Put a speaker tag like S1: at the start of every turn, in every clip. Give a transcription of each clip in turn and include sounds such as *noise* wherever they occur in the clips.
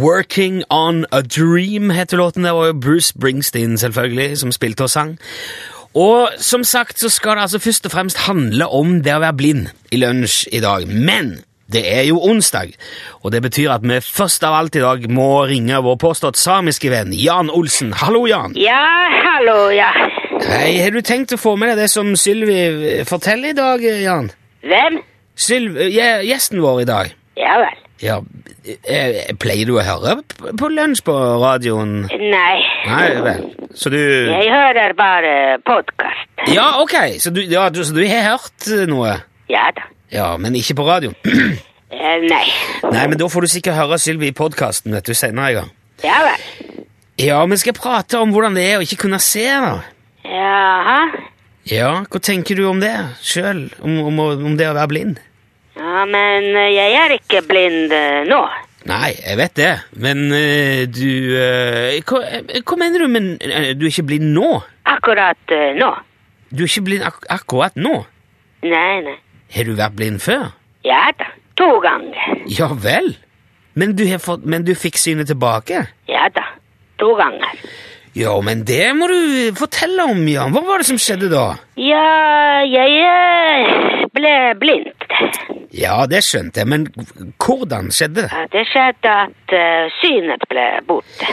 S1: Working on a Dream heter låten. Det var jo Bruce Springsteen selvfølgelig som spilte og sang. Og som sagt så skal det altså først og fremst handle om det å være blind i lunsj i dag. Men det er jo onsdag, og det betyr at vi først av alt i dag må ringe vår påstått samiske venn Jan Olsen. Hallo, Jan.
S2: Ja, hallo, ja.
S1: Hei, har du tenkt å få med deg det som Sylvi eh, forteller i dag, Jan?
S2: Hvem?
S1: Sylvi, gje- gjesten vår i dag.
S2: Ja vel.
S1: Ja, eh, pleier du å høre p- på lunsj på radioen?
S2: Nei,
S1: Nei vel. Så du
S2: jeg hører bare podkast.
S1: Ja, ok, så du, ja, du, så du har hørt eh, noe?
S2: Ja da.
S1: Ja, men ikke på radioen.
S2: Eh, Nei.
S1: *clears throat* Nei, men da får du sikkert høre Sylvi i podkasten, vet du, senere i gang.
S2: Ja vel.
S1: Ja, vi skal prate om hvordan det er å ikke kunne se, da.
S2: Jaha.
S1: Ja, hva tenker du om det sjøl? Om, om, å- om det å være blind?
S2: Ja, men eh, jeg er ikke blind eh, nå.
S1: Nei, jeg vet det, men eh, du eh, hva, eh, hva mener du med eh, du er ikke blind nå?
S2: Akkurat eh, nå.
S1: Du er ikke blind ak akkurat nå?
S2: Nei, nei.
S1: Har du vært blind før?
S2: Ja da. To ganger.
S1: Ja vel? Men du, har fått, men du fikk synet tilbake?
S2: Ja da. To ganger.
S1: Ja, men det må du fortelle om, Jan. Hva var det som skjedde da?
S2: Ja, jeg eh, ble blind.
S1: Ja, det skjønte jeg, men hvordan skjedde det?
S2: Ja, Det skjedde at eh, synet ble borte.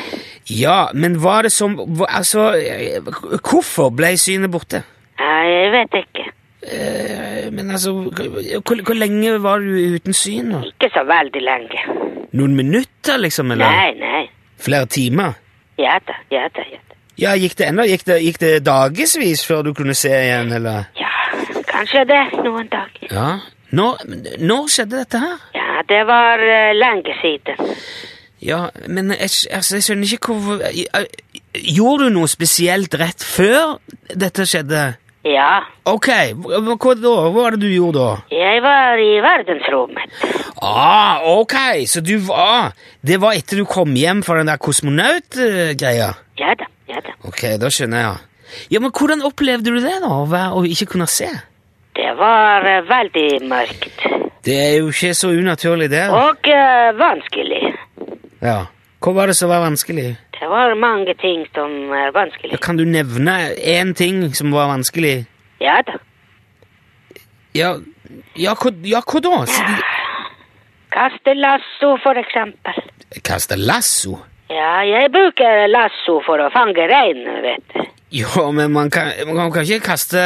S1: Ja, men var det som hva- Altså, eh, hvorfor ble synet borte?
S2: Ja, jeg vet ikke.
S1: Eh, Men altså, hvor, hvor lenge var du uten syn? da?
S2: Ikke så veldig lenge.
S1: Noen minutter, liksom? Eller
S2: Nei, nei.
S1: flere timer?
S2: Ja da, ja da, ja da.
S1: Ja, gikk det ennå? Gikk det, gikk det dagevis før du kunne se igjen, eller?
S2: Ja, kanskje det noen dager.
S1: Ja. Når, når skjedde dette her?
S2: Ja, det var eh, lenge siden.
S1: Ja, men jeg, skj- altså, jeg skjønner ikke hvorfor eh, Gjorde du noe spesielt rett før dette skjedde?
S2: Ja,
S1: Ok, hva, hva da? Hva var det du gjorde da?
S2: jeg var i verdensrommet.
S1: Ah, ok, så du var Det var etter du kom hjem fra den der kosmonaut-greia?
S2: Ja da, ja da.
S1: Ok, da skjønner jeg. Ja, men hvordan opplevde du det, da? Å være- å ikke kunne se?
S2: Det var eh, veldig mørkt.
S1: Det er jo ikke så unaturlig, det. da.
S2: Og eh, vanskelig.
S1: Ja. Hva var det som var vanskelig?
S2: Det var mange ting som er
S1: Ja,
S2: vanskelig.
S1: kan du nevne én ting som var vanskelig?
S2: Ja da.
S1: Ja, ja, hva, ja, hva da? Så-
S2: Kaste lasso, for eksempel.
S1: Kaste lasso?
S2: Ja, jeg bruker lasso for å fange rein, vet du.
S1: Ja, men man kan, man kan ikke kaste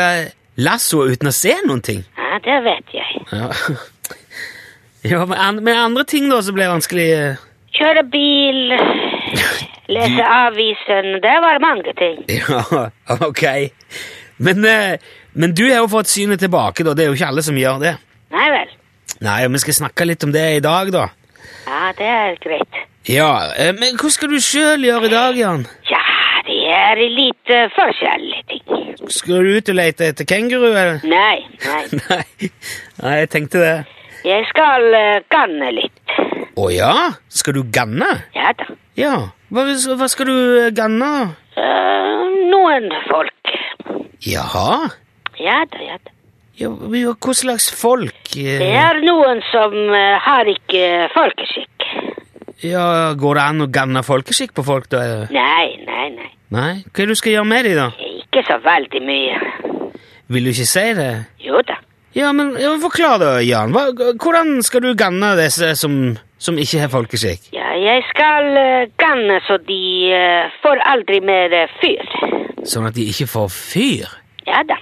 S1: lasso uten å se noen ting.
S2: Ja, det vet jeg.
S1: *laughs* Ja, ja men, an, men andre ting da som ble vanskelig eh,
S2: Kjøre bil, lese avisen, det var mange ting.
S1: Ja, *laughs* ok. Men, eh, men du har jo fått synet tilbake, da. Det er jo ikke alle som gjør det.
S2: Nei vel.
S1: Nei, og vi skal snakke litt om det i dag, da.
S2: Ja, det er greit.
S1: Ja, eh, men hva skal du sjøl gjøre i dag, Jan?
S2: Ja, det er litt eh, forskjellige ting.
S1: Skal du ut og lete etter kenguru, eller?
S2: Nei, nei.
S1: *laughs* Nei, Nei jeg tenkte det.
S2: Jeg skal eh, ganne litt.
S1: Å ja? Skal du ganne?
S2: Ja da.
S1: Ja. Hva, hva skal du eh, ganne? da?
S2: Eh, noen folk.
S1: Jaha?
S2: Ja da, ja da.
S1: Ja, ja, hva slags folk? eh,
S2: Det er noen som eh, har ikke folkeskikk.
S1: Ja, Går det an å ganne folkeskikk på folk, da? eller?
S2: Nei, nei, nei.
S1: Nei? Hva er det du skal gjøre med dem, da?
S2: Ikke så veldig mye.
S1: Vil du ikke si det?
S2: Jo da.
S1: Ja, men ja, men forklar da, Jan. Hva, hvordan skal du ganne disse som, som ikke har folkeskikk?
S2: Ja, jeg skal eh, ganne så de eh, får aldri mer eh, fyr.
S1: Sånn at de ikke får fyr?
S2: Ja da.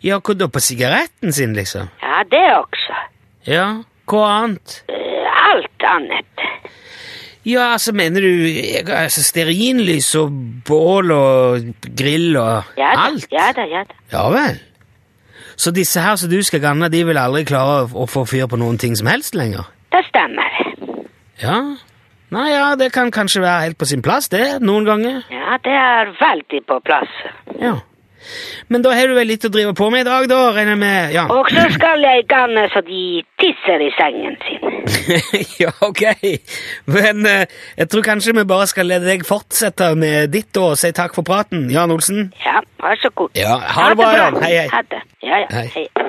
S1: Ja, hva da? På sigaretten sin, liksom?
S2: Ja, det også.
S1: Ja, hva annet?
S2: Eh, alt annet.
S1: Ja, altså, mener du eh, altså, stearinlys og bål og grill og
S2: Ja da,
S1: alt?
S2: ja da, ja da.
S1: Ja vel. Så disse her som du skal ganne, de vil aldri klare å- å få fyr på noen ting som helst lenger?
S2: Det stemmer.
S1: Ja. Nei, ja, det kan kanskje være helt på sin plass, det, noen ganger.
S2: Ja, det er veldig på plass.
S1: Ja. Men da har du vel litt å drive på med i dag, da, regner jeg med? Ja.
S2: Og så skal jeg ganne så de tisser i sengen sin.
S1: *laughs* ja, ok. Men eh, jeg tror kanskje vi bare skal la deg fortsette med ditt da, og si takk for praten, Jan Olsen.
S2: Ja, vær så god.
S1: Ja, ha det bra, Jan. Hei, hei.
S2: Ha det. Ja, ja.
S1: Hei.
S2: hei.